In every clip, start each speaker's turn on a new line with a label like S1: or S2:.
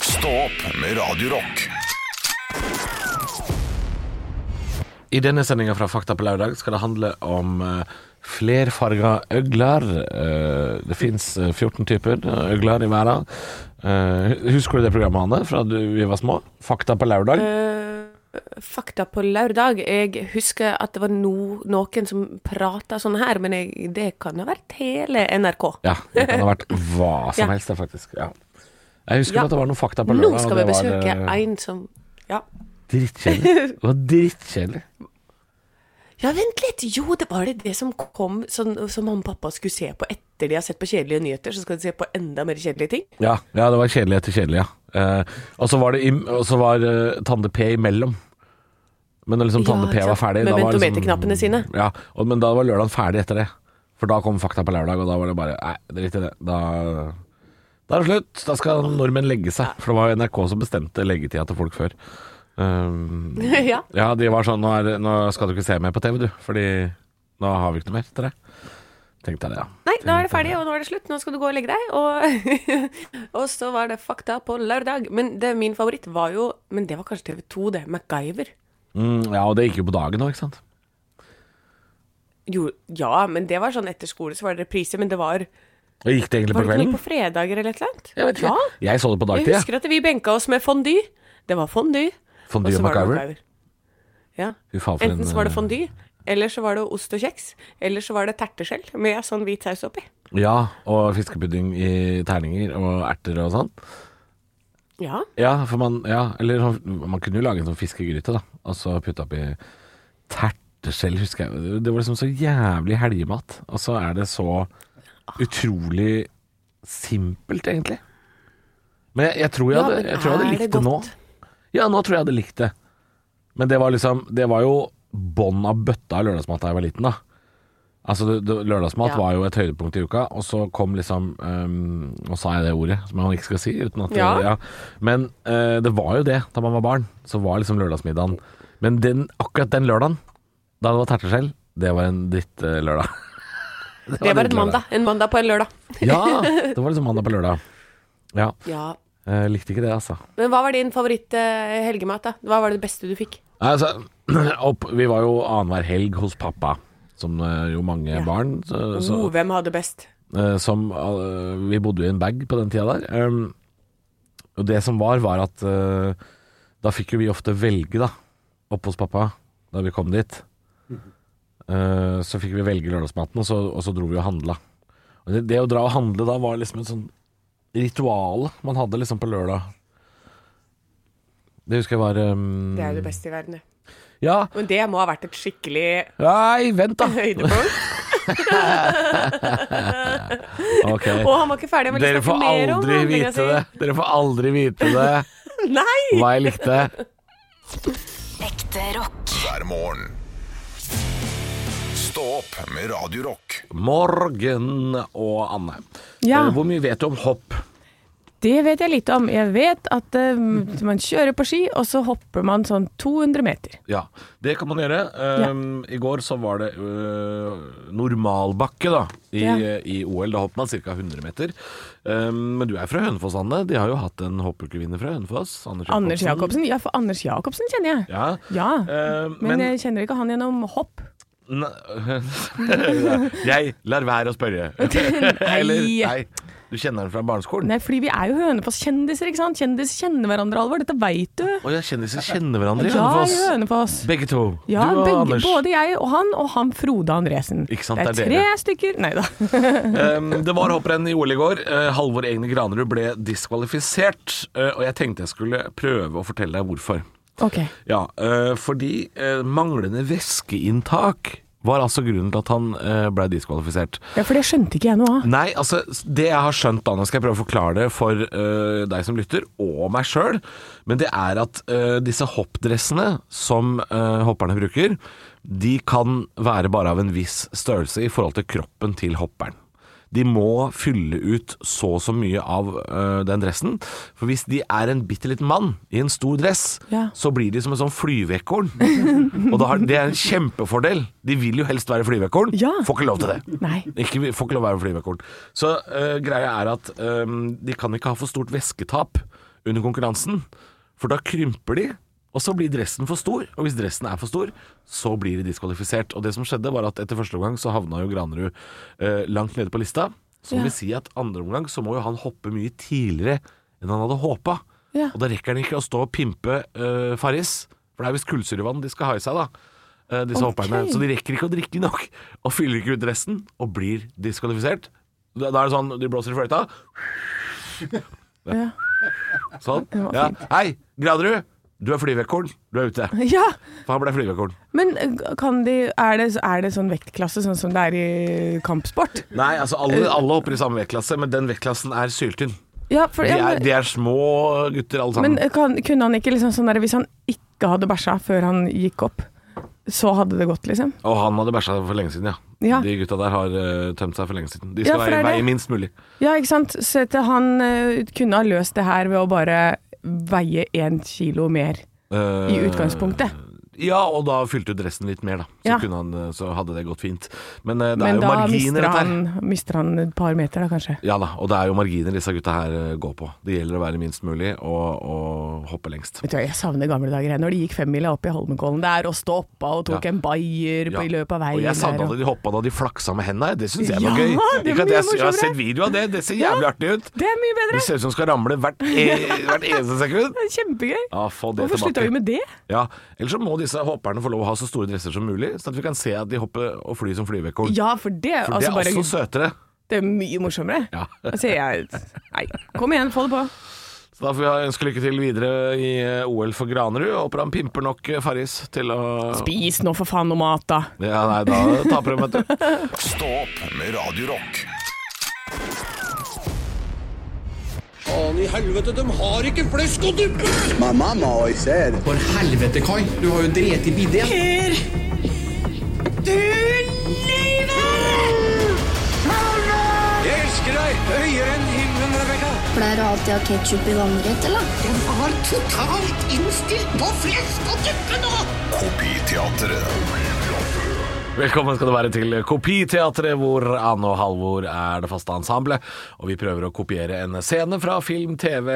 S1: Stå opp med Radio Rock.
S2: I denne sendinga fra Fakta på lørdag skal det handle om eh, flerfarga øgler. Eh, Det fins 14 typer eh, øgler i verden. Eh, Husker du det programmet, Anne, fra du, vi var små? Fakta på lørdag?
S3: Eh, fakta på lørdag. Jeg husker at det var no, noen som prata sånn her, men jeg, det kan ha vært hele NRK.
S2: Ja. Det kan ha vært hva som
S3: Ja.
S2: helst, det, faktisk. Ja. Jeg husker
S3: Ja.
S2: at det var noen fakta på
S3: Nå
S2: lørdag.
S3: skal vi
S2: og det var,
S3: besøke
S2: eh,
S3: en som ja.
S2: Drittkjedelig. Det var drittkjedelig.
S3: ja, vent litt! Jo, det var det det som kom, sånn, som mamma og pappa skulle se på etter de har sett på kjedelige nyheter, så skal de se på enda mer kjedelige ting.
S2: Ja, ja det var kjedelig etter kjedelig, ja. Eh, og så var, det im- og så var eh, Tande P imellom. Men når liksom
S3: Ja,
S2: Tande P
S3: ikke
S2: var
S3: sant.
S2: ferdig
S3: Med
S2: da var liksom-
S3: ventometerknappene sine.
S2: Ja, og, men da var lørdagen ferdig etter det. For da kom Fakta på lørdag, og da var det bare Nei, drit i det. Da, da er det slutt. Da skal nordmenn legge seg. For det var jo NRK som bestemte leggetida til folk før. Um,
S3: ja.
S2: ja, de var sånn nå, er, det- nå skal du ikke se mer på TV, du. Fordi nå har vi ikke noe mer til deg. Tenkte jeg det, ja.
S3: Nei, nå er det ferdig, og nå er det slutt. Nå skal du gå og legge deg. Og, og så var det fakta på lørdag. Men det, min favoritt var jo Men det var kanskje TV 2, det. MacGyver.
S2: Mm, ja, og det gikk jo på dagen nå, ikke sant.
S3: Jo, ja, men det var sånn etter skole så var det reprise, men det var
S2: Og Gikk det egentlig
S3: Var
S2: på
S3: det ikke
S2: kvelden?
S3: noe på fredager eller et eller annet?
S2: Jeg vet ikke.
S3: Ja,
S2: Jeg så det på
S3: jeg
S2: dagtid, jeg.
S3: husker at vi benka oss med fondy. Det var fondy.
S2: Fondue
S3: og
S2: og
S3: så var det
S2: MacGyver.
S3: Ja.
S2: Fy faen, for en,
S3: Enten så var det
S2: eh,
S3: fondy, eller så var det ost og kjeks, eller så var det terteskjell med sånn hvit saus oppi.
S2: Ja, og fiskepudding i terninger og erter og sånn.
S3: Ja.
S2: Ja, for man, ja, eller sånn- man kunne jo lage en sånn fiskegryte, da. Og så putte oppi terteskjell, husker jeg. Det var liksom så jævlig helgemat. Og så er det så utrolig simpelt, egentlig. Men jeg, jeg tror jeg
S3: Ja,
S2: hadde,
S3: men
S2: jeg tror jeg hadde
S3: er
S2: likt det,
S3: det
S2: nå.
S3: godt?
S2: Ja, nå tror jeg jeg hadde likt det. Men det var liksom Det var jo bånn av bøtta av lørdagsmat da jeg var liten, da. Altså, det, det, lørdagsmat
S3: Ja.
S2: var jo et høydepunkt i uka, og så kom liksom ehm, Nå sa jeg det ordet som man ikke skal si. uten at det,
S3: Ja.
S2: Ja. Men eh, det var jo det da man var barn. Så var liksom lørdagsmiddagen Men den, akkurat den lørdagen, da det var terteskjell, det var en eh, drittlørdag. Uh,
S3: Det var en mandag. En mandag på en lørdag.
S2: Ja, det var liksom mandag på lørdag. Ja.
S3: Ja.
S2: eh, likte ikke det, altså.
S3: Men hva var din favoritt-helgemat, da? Hva var det beste du fikk?
S2: Nei, Altså, opp, vi var jo annenhver helg hos pappa, som eh, jo mange barn. Så, så,
S3: Oh, hvem hadde best?
S2: eh, som, eh, vi bodde jo i en bag på den tida der. Ehm, og det som var, var at eh, da fikk jo vi ofte velge, da, oppe hos pappa, da vi kom dit. Eh, så fikk vi velge lørdagsmaten, og så, og så dro vi og handla. Og det, det å dra og handle da var liksom et sånn ritual man hadde liksom på lørdag. Det husker jeg var ehm,
S3: Det er jo det beste i verden, det.
S2: Ja,
S3: Men det må ha vært et skikkelig
S2: Nei, vent da
S3: høydepunkt.
S2: Ok.
S3: Og han var ikke ferdig, jeg vil
S2: Dere
S3: snakke
S2: får
S3: mer om
S2: aldri
S3: handlinga
S2: vite det Dere får aldri vite det
S3: si. Nei!
S2: Hva jeg likte
S4: Ekte rock.
S1: Hver morgen. Stå opp med Radio Rock.
S2: Morgen og Anne
S5: Ja.
S2: Eh, Hvor mye vet du om hopp?
S5: Det vet jeg lite om. Jeg vet at eh, man kjører på ski, og så hopper man sånn 200 meter.
S2: Ja, det kan man gjøre Ehm, I går så var det øh, normalbakke da i,
S5: Ja.
S2: i OL, da hoppet man ca. 100 meter Ehm, Men du er fra Hønefoss, Anne De har jo hatt en hoppukevinner fra Hønefoss Anders Jacobsen,
S5: Anders Jacobsen. Ja, for Anders Jacobsen kjenner jeg.
S2: Ja, Eh,
S5: men,
S2: men-
S5: jeg kjenner ikke han gjennom hopp.
S2: Ne- Jeg lar være å spørre. Eller nei, du kjenner den fra barneskolen?
S5: Nei, fordi vi er jo Hønefoss-kjendiser, ikke sant? Kjendiser kjenner hverandre, Alvor. Dette veit du.
S2: Å ja, kjendiser kjenner hverandre i
S5: Ja, i
S2: Hønefoss.
S5: Hønefoss.
S2: Begge to.
S5: Ja,
S2: du og
S5: begge,
S2: Anders.
S5: både jeg og han, og han Frode Andresen.
S2: Ikke sant,
S5: det er
S2: det er
S5: tre
S2: dere.
S5: stykker Nei da.
S2: Ehm, det var hopprenn i OL i går. Eh, Halvor Egne Granerud ble diskvalifisert. eh, og jeg tenkte jeg skulle prøve å fortelle deg hvorfor.
S5: Ok.
S2: Ja, eh, fordi eh, manglende væskeinntak var altså grunnen til at han eh, ble diskvalifisert.
S5: Ja, for det skjønte ikke jeg noe av.
S2: Nei, altså det jeg har skjønt da, nå skal jeg prøve å forklare det for øh, deg som lytter, og meg sjøl, men det er at øh, disse hoppdressene som øh, hopperne bruker, de kan være bare av en viss størrelse i forhold til kroppen til hopperen. De må fylle ut så og så mye av øh, den dressen, for hvis de er en bitte liten mann i en stor dress,
S5: Ja.
S2: så blir de som en sånn flyveekorn. og da har, det er en kjempefordel. De vil jo helst være flyveekorn,
S5: Ja.
S2: får ikke lov til det.
S5: Nei.
S2: Ikke, får eh, ehm, ikke lov å være flyvekorn. Så øh, greia er at øhm, de kan ikke ha for stort væsketap under konkurransen. For da krymper de, og så blir dressen for stor. Og hvis dressen er for stor, så blir de diskvalifisert. Og det som skjedde, var at etter første omgang så havna jo Granerud eh, langt nede på lista. Som
S5: Ja.
S2: vil si at andre omgang så må jo han hoppe mye tidligere enn han hadde håpa.
S5: Ja.
S2: Og da rekker han ikke å stå og pimpe eh, Farris, for det er visst kullsyrevann de skal ha i seg, da. eh, disse
S5: Ok.
S2: hopperne. Så de rekker ikke å drikke nok, og fyller ikke ut dressen, og blir diskvalifisert. Da da er det sånn, de blåser i fløyta,
S5: Ja.
S2: Sånn.
S5: Det var
S2: Ja. Hei, Granerud! Du er flyvekorn. Du er ute.
S5: ja.
S2: For han ble flyvekorn.
S5: Men eh, kan de, er, det, er det sånn vektklasse, sånn som det er i kampsport?
S2: Nei, altså
S5: Eh.
S2: alle, alle hopper i samme vektklasse, men den vektklassen er syltynn.
S5: Ja, for,
S2: De
S5: ja,
S2: er,
S5: men-
S2: de er små gutter alle sammen.
S5: Men eh, kan, kunne han ikke liksom sånn der, hvis han ikke hadde bæsja før han gikk opp, så hadde det gått, liksom?
S2: Og han hadde bæsja for lenge siden, ja.
S5: Ja.
S2: De gutta der har eh, tømt seg for lenge siden. De
S5: Ja,
S2: skal
S5: for det
S2: veie,
S5: er det.
S2: veie minst mulig.
S5: Ja, ikke sant? Så at han eh, kunne ha løst det her ved å bare veie én kilo mer
S2: Eh,
S5: i utgangspunktet.
S2: Ja, og da fylte du dressen litt mer, da. Så,
S5: Ja.
S2: kunne han, eh, så hadde det gått fint. Men eh, det er
S5: Men
S2: jo
S5: da
S2: marginer,
S5: mister
S2: dette
S5: han,
S2: her.
S5: mister han et par meter, da kanskje.
S2: Ja da, og det er jo marginer disse gutta her eh, går på. Det gjelder å være minst mulig og, og hoppe lengst.
S5: Vet du, hva, Jeg savner gamle dager. jeg. Når de gikk femmila opp i Holmenkollen der og stoppa og tok
S2: Ja.
S5: en bayer på, i løpet av veien.
S2: Og jeg savna da
S5: der, og-
S2: de hoppa da de flaksa med hendene. Det syns jeg var
S5: Ja,
S2: gøy.
S5: det
S2: Ikke
S5: var
S2: at jeg,
S5: mye
S2: jeg har
S5: morsommere.
S2: sett video av det. Det ser jævlig artig ut.
S5: Det er mye
S2: Du
S5: bedre!
S2: ser ut som du skal ramle hvert, e hvert eneste sekund.
S5: Det er kjempegøy.
S2: Ja, få det
S5: Hvorfor slutta vi
S2: tilbake.
S5: med det?
S2: Ja, Ellers så må disse hopperne få lov å ha så store dresser som mulig, sånn at vi kan se at de hopper og flyr som flyvekorn.
S5: Ja, for det,
S2: For
S5: altså,
S2: det er
S5: bare,
S2: også søtere.
S5: det er mye morsommere.
S2: Ja.
S5: Altså, jeg Nei, kom igjen, få det på.
S2: Så da får vi ønske lykke til videre i eh, OL for Granerud. Håper han pimper nok eh, Farris til å
S5: Spis nå for faen noe mat, da.
S2: Ja, nei, da taper de, vet du.
S1: Stå opp med Radio Rock.
S4: Faen i helvete, de har ikke flesk og duppe!
S6: My mama always said,
S4: For helvete, Kai. Du har jo drept i bidé. Jeg elsker deg høyere enn himmelen, Rebekka.
S7: Pleier du alltid å ha ketsjup i vannrett, eller?
S8: Jeg var totalt innstilt på flesk og duppe nå!
S1: Kopiteatret.
S2: Velkommen skal du være til Kopiteatret, hvor Anne og Halvor er det faste ensemblet. Og vi prøver å kopiere en scene fra film, TV,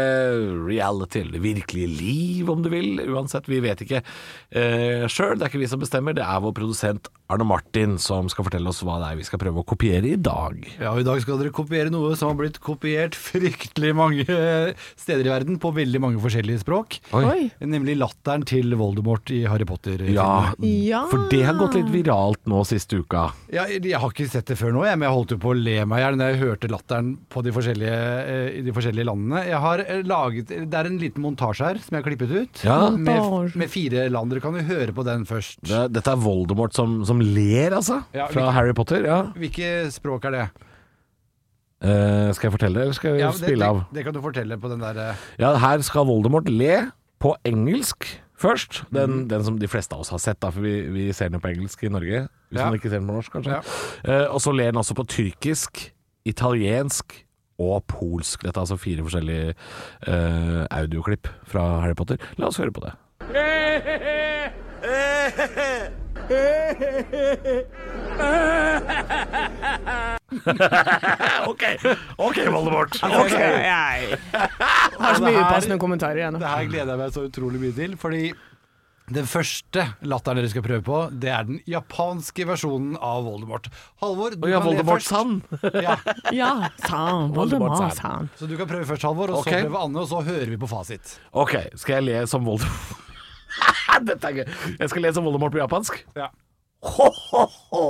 S2: reality eller virkelig liv, om du vil. Uansett, vi vet ikke eh, sjøl. Det er ikke vi som bestemmer, det er vår produsent Arne Martin som skal fortelle oss hva det er vi skal prøve å kopiere i dag.
S9: Ja, og I dag skal dere kopiere noe som har blitt kopiert fryktelig mange steder i verden på veldig mange forskjellige språk.
S5: Oi.
S9: Nemlig latteren til Voldemort i Harry Potter.
S2: Ja,
S5: Ja.
S2: for det har gått litt viralt nå siste uka.
S9: Ja, jeg har ikke sett det før nå, jeg, men jeg holdt jo på å le meg i hjel da jeg hørte latteren på de forskjellige, eh, i de forskjellige landene. Jeg har eh, laget, Det er en liten montasje her som jeg har klippet ut.
S2: Ja.
S5: Montasje.
S9: Med, med fire land. Dere kan jo høre på den først.
S2: Det, dette er Voldemort som, som ler, altså,
S9: Ja, vi-
S2: fra Harry Potter. Ja.
S9: Hvilke språk er det?
S2: Eh, skal jeg fortelle, eller skal jeg
S9: Ja, det,
S2: spille
S9: det,
S2: av?
S9: det kan du fortelle på den der eh,
S2: Ja, her skal Voldemort le på engelsk først. Den, den som de fleste av oss har sett, da, for vi, vi ser den jo på engelsk i Norge. Hvis
S9: Ja.
S2: man ikke ser den på norsk, kanskje. Eh, og så ler den også på tyrkisk, italiensk og polsk. Dette er altså fire forskjellige eh, audioklipp fra Harry Potter. La oss høre på det. OK, ok, Voldemort.
S5: Ok, jeg har så mye upassende kommentarer igjen.
S9: Det her gleder jeg meg så utrolig mye til, fordi den første latteren dere skal prøve på, det er den japanske versjonen av Voldemort. Halvor, du
S2: Å ja,
S9: kan le
S2: Voldemort
S9: først.
S2: sann.
S9: Ja,
S5: Ja, sa
S2: Voldemort,
S5: Voldemar,
S2: sa
S5: sa han.
S9: så du kan prøve først, Halvor, og
S2: Ok.
S9: så prøve Anne, og så hører vi på fasit.
S2: Ok, skal jeg le som Voldemort Dette er gøy Jeg skal le som Voldemort på japansk
S9: Ja.
S2: Ho, ho, ho.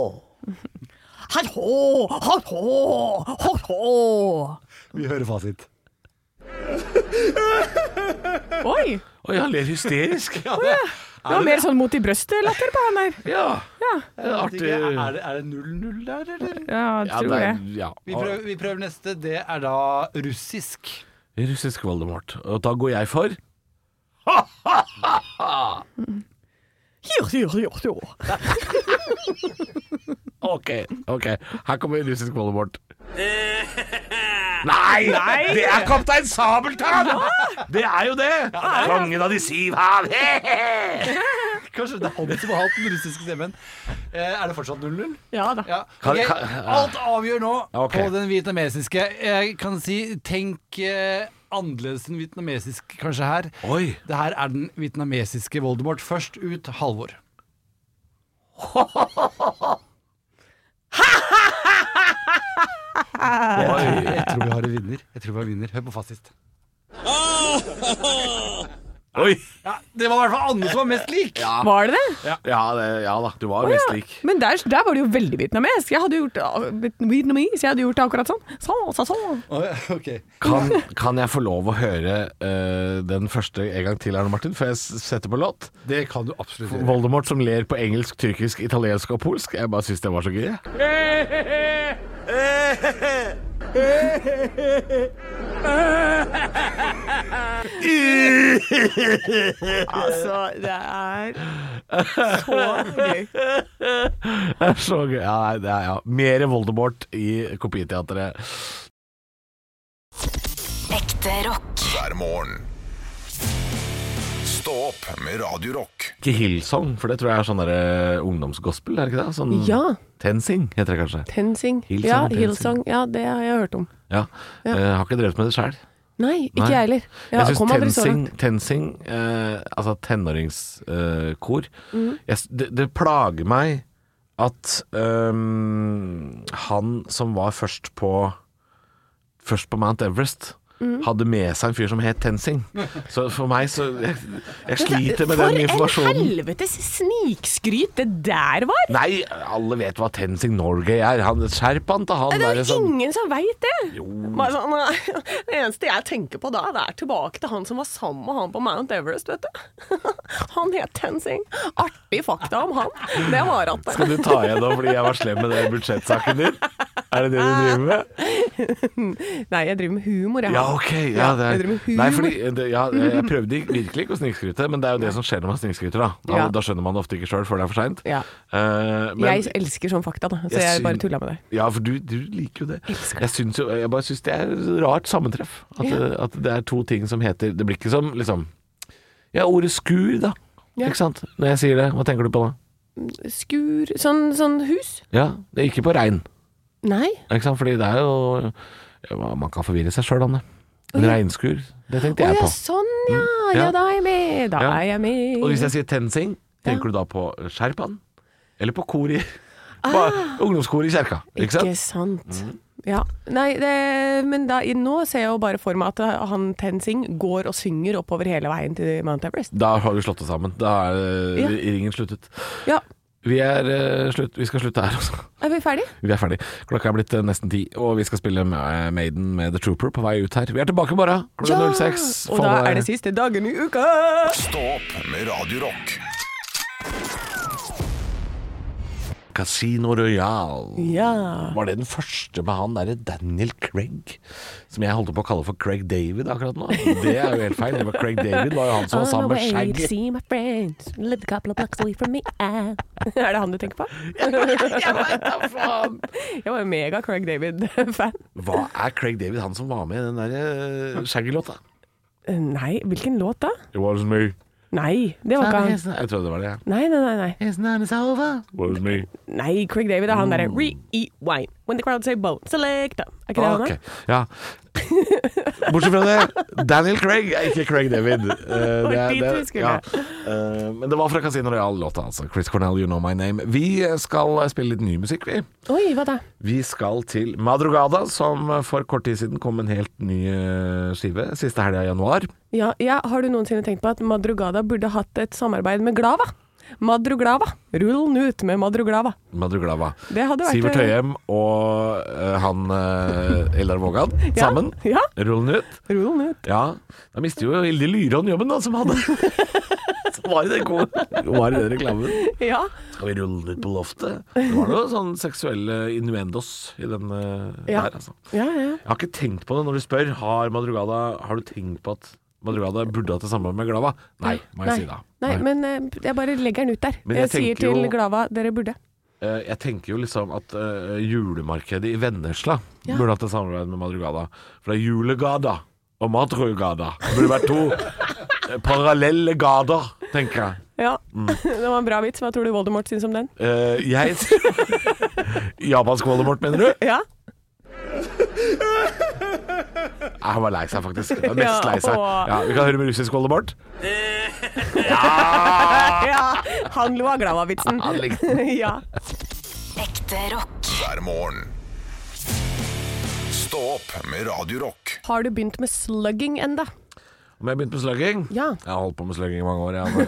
S5: Hallo, hallo, hallo.
S9: Vi hører fasit.
S5: Oi, det
S2: Oi, han ler hysterisk Ja,
S5: var mer sånn mot i brøstet-latter på han her.
S2: ja. Det er
S9: Er
S2: artig Ja,
S9: det- er det 0-0 der, eller?
S5: Ja, tror
S2: det
S5: det.
S2: er, ja.
S9: Vi prøver, vi prøver neste. Det er da russisk.
S2: Russisk Voldemort Og da går jeg for
S5: Jo, jo, jo, jo.
S2: Ok, ok Her kommer russisk Voldemort Nei, det er kaptein Sabeltan Det er jo det Kongen av de syv hav He, he, he.
S9: Kanskje det er han som har hatt den russiske stemmen. Eh, er det fortsatt 0-0?
S5: Ja da.
S9: Ja.
S2: Kan-
S9: ok,
S2: kan-
S9: Alt avgjør nå
S2: Ok.
S9: på den vietnamesiske. Jeg kan si tenk eh, annerledes enn vietnamesisk kanskje her.
S2: Oi!
S9: Det her er den vietnamesiske Voldemort. Først ut Halvor. Jeg tror, jeg tror vi har en vinner. Jeg tror vi har en vinner. Hør på fasist.
S2: Oi!
S9: Ja, det var i hvert fall Anne som var mest lik.
S5: Var det det?
S2: Ja, det, ja da, du var mest lik.
S5: Men der, der var det jo veldig vietnamesk. Jeg hadde gjort ah, vietnamese, jeg hadde gjort akkurat sånn. Så, så, så.
S9: Å, ja, ok.
S2: Kan, kan jeg få lov å høre eh, den første en gang til, Arne Martin, før jeg s- setter på låt?
S9: Det kan du absolutt gjøre.
S2: Voldemort som ler på engelsk, tyrkisk, italiensk og polsk. Jeg bare syns det var så gøy. jeg.
S5: Altså, det er så gøy.
S2: Det er så gøy. Ja, nei, det er, ja. Mer Voldemort i Kopiteatret.
S7: Ekte rock.
S1: hver morgen. Stå opp med Radio Rock.
S2: Ikke Hillsong, for det tror jeg er sånn der, eh, ungdomsgospel, er det ikke det? Sånn
S3: Ja.
S2: Tensing heter det kanskje.
S3: Tensing.
S2: Hillsong,
S3: ja,
S2: Tenzing.
S3: Hillsong. Ja, det har jeg hørt om.
S2: Ja.
S3: Ja.
S2: Eh, har ikke drevet med det sjøl.
S3: Nei, ikke
S2: Nei.
S3: jeg heller. Ja,
S2: jeg
S3: kom
S2: syns
S3: aldri så
S2: tensing,
S3: langt.
S2: tensing eh, altså tenåringskor eh,
S3: Mm.
S2: jeg, s- det, det plager meg at øhm, han som var først på Først på Mount Everest
S3: Mm.
S2: Hadde med seg en fyr som het Tensing Så for meg så Jeg, jeg sliter med den
S5: For en
S2: informasjonen
S5: helvetes snikskryt det der var!
S2: Nei, alle vet hva Tensing Norge er han, Skjerp han sånn, til han
S5: Det er
S2: der,
S5: jo
S2: som-
S5: ingen som veit det! Bare sånn, nei, det eneste jeg tenker på da, det er tilbake til han som var sammen med han på Mount Everest, vet du. Han het Tenzing. Artig fakta om han. Det var at
S2: Skal du ta igjen nå fordi jeg var slem med den budsjettsaken din? Er det det du driver med?
S5: Nei, jeg driver med humor, jeg.
S2: Ja, ok. Ja, det
S5: jeg
S2: er,
S5: driver med humor.
S2: nei, fordi, eh, det, ja, jeg prøvde ikke- virkelig ikke å snikskryte, men det er jo det som skjer når man snikskryter. Da Da,
S5: Ja.
S2: da skjønner man det ofte ikke sjøl før det er for seint.
S5: Ja. jeg elsker sånn fakta, da, så jeg bare tulla med det.
S2: Ja, for du, du liker jo det.
S5: Elsker det.
S2: Jeg, syns jo, jeg bare syns det er et rart sammentreff. At, det- at det er to ting som heter Det blir ikke som liksom Ja, ordet skur, da.
S5: Ja.
S2: Ikke sant? Når jeg sier det, hva tenker du på da?
S3: Skur Sånn, sånn hus?
S2: Ja, det er ikke på regn.
S3: Nei.
S2: Ikke sant? Fordi det er jo ja, Man kan forvirre seg sjøl om det. En regnskur, det tenkte
S3: Å
S2: jeg
S3: ja,
S2: på. Mm.
S3: sånn ja.
S2: ja.
S3: Ja, da er jeg med. Da
S2: Ja.
S3: er jeg med.
S2: Og hvis jeg sier tensing, tenker du da på skjerpan? Eller på kor i Bare Ungdomskor i kjerka, ikke sant?
S3: Ah.
S2: Mm.
S3: Ikke sant. Ja. Nei, det, men da, i- nå ser jeg jo bare for meg at eh, han Tenzing går og synger oppover hele veien til Mount Everest.
S2: Da har vi slått oss sammen. Da er eh,
S3: Ja.
S2: ringen sluttet.
S3: Ja,
S2: Vi, er, eh, slutt, vi skal slutte her også.
S3: er vi ferdige?
S2: Vi er ferdig. Klokka er blitt eh, nesten ti, og vi skal spille Ma- Maiden med The Trooper på vei ut her. Vi er tilbake i morgen klokka 06.
S3: Og
S2: Få
S3: da
S2: med-
S3: er det siste dagen i uka!
S1: Stå opp med Radio Rock.
S2: Casino Royal.
S3: Ja.
S2: Var det den første med han derre Daniel Craig? Som jeg holdt på å kalle for Craig David akkurat nå. Det er jo helt feil. Det var Craig David var jo han
S3: Ah,
S2: som var sammen med Shaggy.
S3: see my friends. Live a couple of blocks away from me. Ah. er det han du tenker på? jeg var jo mega Craig David-fan.
S2: Hva er Craig David, han som var med i den derre Shaggy-låta?
S3: Nei, hvilken låt da?
S2: It was me.
S3: Nei, det
S5: Ah,
S3: var ikke han.
S2: Jeg trodde det var det.
S3: Nei, nei, nei. nei.
S2: It's not it's over. It was me.
S3: Nei, Craig David er han derre re-eat wine when the crowd say bone select. Er ikke det
S2: Ah,
S3: han
S2: Ok,
S3: er?
S2: ja. Bortsett fra det, Daniel Craig er ikke Craig David. Eh, det er-
S3: dit
S2: det-
S3: vi skulle.
S2: ja. Eh, men det var fra Casino Royal-låta, altså. Chris Cornell, You Know My Name. Vi skal spille litt ny musikk, vi.
S3: Oi, hva da?
S2: Vi skal til Madrugada, som for kort tid siden kom en helt ny eh, skive. Siste helga i januar.
S3: Ja, ja, har du noensinne tenkt på at Madrugada burde hatt et samarbeid med Glava? Madruglava. Rull den ut med Madruglava.
S2: Madruglava.
S3: Det hadde vært- eh,
S2: Sivert Høyem og eh, han eh, Eldar Vågan
S3: Ja,
S2: sammen.
S3: ja.
S2: Rull den ut.
S3: Rull den ut.
S2: Ja. Da mister jo Hilde Lyrån jobben, da, som hadde Som var i den gode Var i den reklamen.
S3: Ja.
S2: Skal vi rulle den ut på loftet? Det var noe sånn seksuelle innuendos i den eh,
S3: Ja.
S2: der, altså.
S3: Ja, ja, ja.
S2: Jeg har ikke tenkt på det når du spør. Har Madrugada Har du tenkt på at Madrugada burde hatt det samme med Glava? Nei, må jeg
S3: Nei.
S2: si da.
S3: Nei, men eh, jeg bare legger den ut der.
S2: Men
S3: jeg
S2: jeg
S3: sier
S2: tenker
S3: til
S2: jo-
S3: Glava dere burde.
S2: Eh, Jeg tenker jo liksom at eh, julemarkedet i Vennesla burde hatt et samarbeid med Madrugada. For det er julegada og Madrugada. Det burde vært to eh, parallelle gader, tenker jeg.
S3: Ja. det var en bra vits. Hva tror du Voldemort syns om den?
S2: Eh, jeg Japansk Voldemort, mener du?
S3: Ja.
S2: Nei, Han var lei seg, faktisk. Han var Mest
S5: Ja,
S2: lei seg.
S5: åh.
S2: Ja, vi kan høre med russisk oldemort.
S5: Ja, han lo av Glava-vitsen.
S2: Han likte
S5: ja.
S10: Ekte rock.
S1: hver morgen. Stå opp med Radio Rock.
S5: Har du begynt med slugging enda?
S2: Om jeg begynte med slugging?
S5: Ja.
S2: Jeg har holdt på med slugging i mange år. Jeg,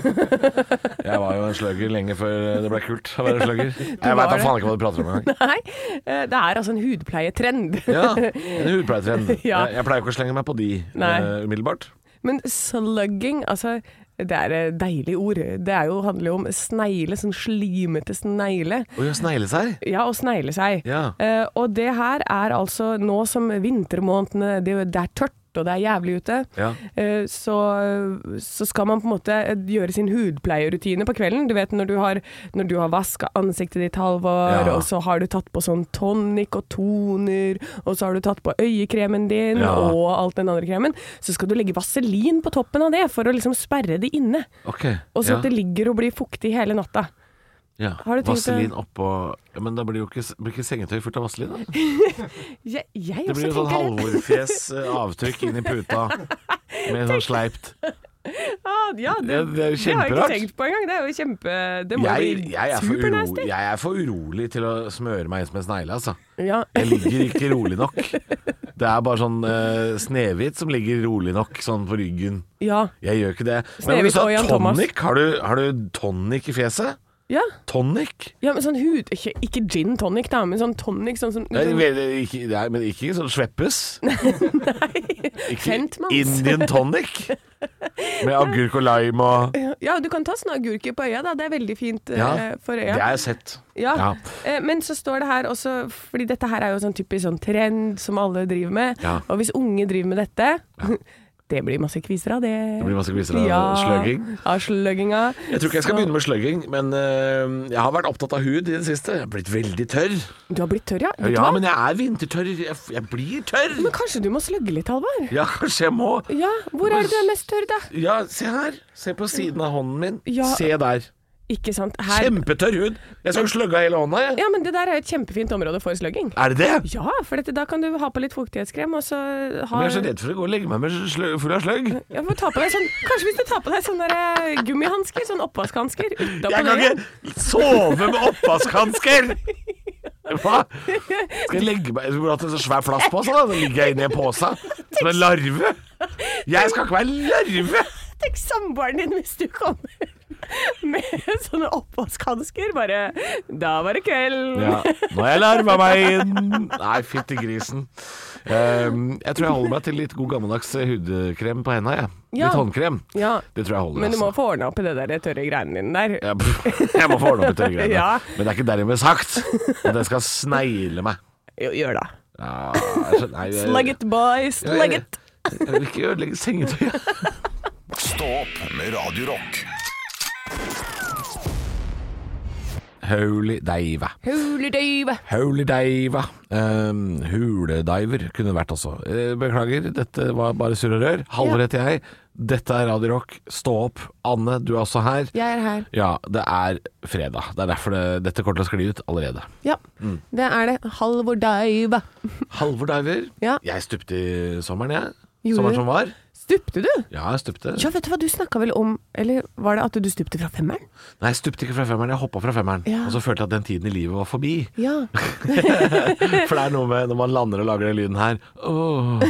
S2: jeg var jo en slugger lenge før det ble kult å være slugger. Jeg veit da
S5: det.
S2: faen ikke hva du prater om engang.
S5: Nei, eh, det er altså en hudpleietrend.
S2: Ja, en hudpleietrend.
S5: Ja.
S2: Jeg, jeg pleier ikke å slenge meg på de
S5: Nei.
S2: eh, umiddelbart.
S5: Men slugging, altså det er et deilig ord. Det er jo, handler jo om snegle, sånn slimete snegle.
S2: Å gjøre snegle seg?
S5: Ja, å snegle seg.
S2: Ja.
S5: Eh, og det her er altså nå som vintermånedene Det, er jo- det er tørt. Og det er jævlig ute,
S2: Ja.
S5: eh, så, så skal man på en måte eh, gjøre sin hudpleierutine på kvelden. Du vet når du har, når du har vaska ansiktet ditt, Halvor,
S2: Ja.
S5: og så har du tatt på sånn tonic og toner, og så har du tatt på øyekremen din
S2: Ja.
S5: og alt den andre kremen, så skal du legge vaselin på toppen av det for å liksom sperre det inne.
S2: Ok.
S5: Og så
S2: ja.
S5: at det ligger og blir fuktig hele natta.
S2: ja.
S5: Har du tenkt
S2: Vaselin oppå ja, Men da blir jo ikke, blir ikke sengetøy fullt av vaselin, da?
S5: Jeg, jeg
S2: Det blir jo
S5: også
S2: sånn
S5: tenker det.
S2: halvorfjes eh, avtrykk inn i puta. Med sånn sleipt
S5: Ah, ja, det,
S2: Ja, det er jo
S5: det har jeg ikke
S2: kjemperart.
S5: tenkt på engang. Det er jo kjempe Det må
S2: jeg,
S5: bli
S2: jeg, er for uro,
S5: supernasty.
S2: jeg er for urolig til å smøre meg inn som en snegle, altså.
S5: Ja. eh,
S2: Jeg ligger ikke rolig nok. Det er bare sånn uh, Snehvit som ligger rolig nok sånn på ryggen.
S5: ja.
S2: Jeg gjør ikke det. Men
S5: Snehvit
S2: du sa
S5: og Jan Thomas.
S2: tonic. Har du, har du tonic i fjeset?
S5: ja.
S2: Tonic?
S5: Ja, men sånn hud Ikke, ikke gin tonic, da, men sånn tonic sånn som
S2: Det er veldig- ikke, det er, men ikke sånn sveppes. Ikke
S5: Kentmans.
S2: Indian tonic med agurk og lime og
S5: Ja, du kan ta sånne agurker på øya, da. Det er veldig fint eh,
S2: Ja,
S5: for
S2: Det
S5: øya.
S2: har jeg sett.
S5: Ja.
S2: Ja.
S5: Eh, Men så står det her også Fordi dette her er jo sånn typisk sånn trend som alle driver med.
S2: Ja.
S5: Og hvis unge driver med dette Det blir masse kviser av det. Det
S2: blir masse kviser av slugging.
S5: Av slugginga.
S2: Jeg tror ikke jeg skal begynne med slugging, men øh, jeg har vært opptatt av hud i det siste. Jeg har blitt veldig tørr.
S5: Du har blitt tørr, ja? Vet du
S2: Ja,
S5: hva?
S2: men jeg er vintertørr. Jeg, jeg blir tørr.
S5: men kanskje du må slugge litt, Halvor?
S2: Ja, kanskje jeg må.
S5: Ja, hvor er det du er mest tørr, da?
S2: Ja, se her. Se på siden av hånden min.
S5: Ja.
S2: Se der.
S5: Ikke sant. Her.
S2: Kjempetørr hud. Jeg skal jo slugge av hele hånda, jeg.
S5: Ja, men det der er et kjempefint område for slugging.
S2: Er det det?
S5: Ja, for dette, da kan du ha på litt fuktighetskrem, og så ha
S2: Men jeg er så redd for å gå og legge meg med slø full av sløgg.
S5: Ja, men ta på deg sånn, kanskje hvis du tar på deg sånne der, eh, gummihansker, sånn oppvaskhansker utapå
S2: Jeg kan ikke sove med oppvaskhansker! Hva? Skal jeg legge meg Jeg skulle hatt en så svær plastpose, da. Så ligger jeg inni en pose som en larve. Jeg skal ikke være en larve!
S5: Tenk samboeren din hvis du kommer med sånne oppvaskhansker. Bare Da var det kveld.
S2: Ja, nå har jeg larva meg inn. Nei, fytti grisen. Ehm, jeg tror jeg holder meg til litt god gammeldags hudkrem på henda, jeg.
S5: Ja.
S2: Litt håndkrem.
S5: Ja.
S2: Det tror jeg holder.
S5: Men du må
S2: altså.
S5: få ordna opp i det der tørre greiene dine der.
S2: Ja, pff, Jeg må få ordna opp i tørre greiene.
S5: Ja.
S2: Men det er ikke dermed sagt at jeg skal snegle meg.
S5: Jo, gjør da.
S2: Ja, jeg skjønner- nei, jeg-
S5: Slug it, boy. Slug it.
S2: Jeg vil ikke ødelegge sengetøyet.
S1: Stå opp med Radio Rock.
S2: Holy diva.
S5: Holy dive.
S2: Holy diva. Ehm, hulediver kunne det vært også. Eh, beklager, dette var bare surr og rør. Halvrett jeg. Dette er Radio Rock. Stå opp. Anne, du er også her.
S5: Jeg er her.
S2: Ja, det er fredag. Det er derfor det, dette kommer til å skli ut allerede.
S5: Ja,
S2: Mm.
S5: det er det. Halvor dive.
S2: Halvor Diver.
S5: Ja.
S2: Jeg stupte i sommeren, jeg.
S5: Gjorde
S2: sommeren
S5: du?
S2: som var.
S5: Stupte du?
S2: Ja, jeg stupte.
S5: Ja, vet du hva, du snakka vel om Eller var det at du stupte fra femmeren?
S2: Nei, jeg stupte ikke fra femmeren. Jeg hoppa fra femmeren.
S5: Ja.
S2: Og så følte jeg at den tiden i livet var forbi.
S5: Ja.
S2: For det er noe med når man lander og lager den lyden her Åh.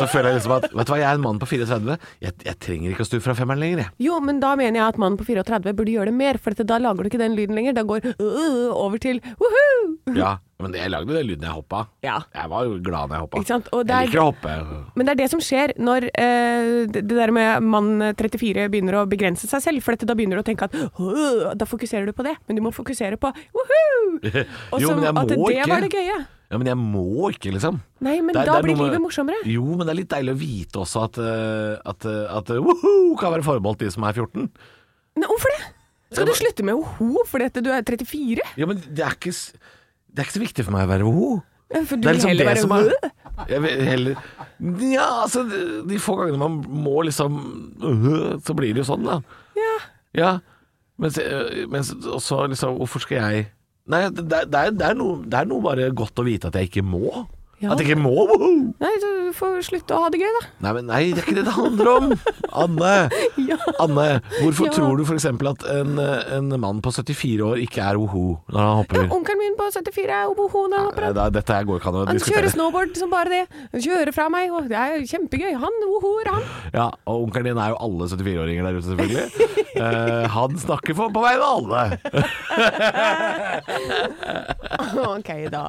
S2: Så føler jeg liksom at Vet du hva, jeg er en mann på 34. Jeg, jeg trenger ikke å stupe fra femmeren lenger, jeg.
S5: Jo, men da mener jeg at mannen på 34 burde gjøre det mer, for at da lager du ikke den lyden lenger. Da går øh, over til woohoo!
S2: Ja, men jeg lagde den lyden jeg hoppa.
S5: Mhm. Ja.
S2: Jeg var jo glad når jeg hoppa.
S5: Ikke sant? Og det
S2: Jeg
S5: er-
S2: liker å hoppe.
S5: Men det er det som skjer når eh, det det der med mann 34 begynner å begrense seg selv, for at da begynner du å tenke at øh, da fokuserer du på det, men du må fokusere på woohoo! Og
S2: Jo,
S5: som
S2: men jeg
S5: at det
S2: må ikke.
S5: var det gøye.
S2: Ja, men jeg må ikke, liksom.
S5: Nei, men
S2: Det er-
S5: da
S2: det er
S5: blir
S2: noe med-
S5: livet morsommere.
S2: Jo, men det er litt deilig å vite også at, eh, at, eh, at eh, woho kan være forbeholdt de som er 14.
S5: Nei, hvorfor det? Skal du slutte med woohoo fordi at du er 34?
S2: Ja, men det er ikke, s- det er ikke så viktig for meg å være woho.
S5: For du
S2: Det er
S5: vil
S2: liksom
S5: heller
S2: det
S5: være
S2: som er
S5: øh.
S2: jeg vil heller, Ja, altså de- De få gangene man må liksom øh, Så blir det jo sånn, da. øh,
S5: Ja.
S2: Ja. Mens, eh, mens også liksom Hvorfor skal jeg Nei, det, det, er- det, er noe, det er noe bare godt å vite at jeg ikke må.
S3: Ja.
S2: At jeg ikke må! Woho!
S3: Nei, du får slutte å ha det gøy, da.
S2: Nei, men nei, det er ikke det det handler om! Anne, Anne hvorfor
S3: Ja.
S2: tror du f.eks. at en, øh, en mann på 74 år ikke er woho når han hopper?
S3: Onkelen min på 74 er oboho når han hopper.
S2: Nei, det- dette her går ikke an å
S3: Han kjører
S2: diskutere.
S3: snowboard som bare det. Han kjører fra meg, og det er jo kjempegøy. Han wohoer, han.
S2: Ja, og onkelen din er jo alle 74-åringer der ute, selvfølgelig. Eh, han snakker for, på vegne av alle.
S3: Ok, da.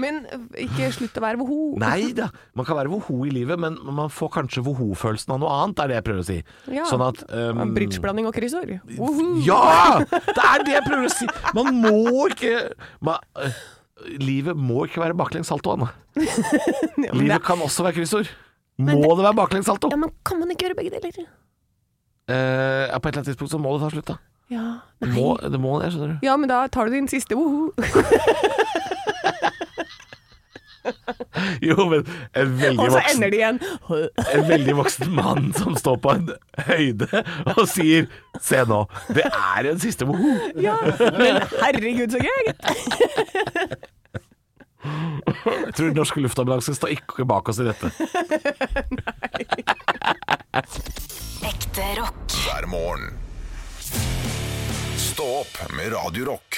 S3: Men eh, ikke slutt å være woho.
S2: Nei da, man kan være woho i livet, men man får kanskje woho-følelsen av noe annet, er det jeg prøver å si.
S3: Ja.
S2: Sånn at ehm,
S3: Bridgeblanding og kryssord. Woho.
S2: Ja! Det er det jeg prøver å si! Man må ikke man, eh, Livet må ikke være baklengs salto, Anne. Livet kan også være kryssord. Må det, være baklengs salto?
S3: Ja, men kan man ikke gjøre begge deler?
S2: Eh, ja, på et eller annet tidspunkt så må det ta slutt, da.
S3: Ja.
S2: Det må, det, må det, skjønner du.
S3: ja, men da tar du din siste woho.
S2: Jo, men en veldig,
S3: Og så
S2: voksen,
S3: ender det igjen.
S2: en veldig voksen mann som står på en høyde og sier Se nå, det er en siste woho.
S3: Ja, men herregud, så gøy!
S2: Jeg tror norsk luftambulanse står ikke bak oss i dette.
S10: Ekte rock.
S1: hver morgen. Stå opp med Radio Rock.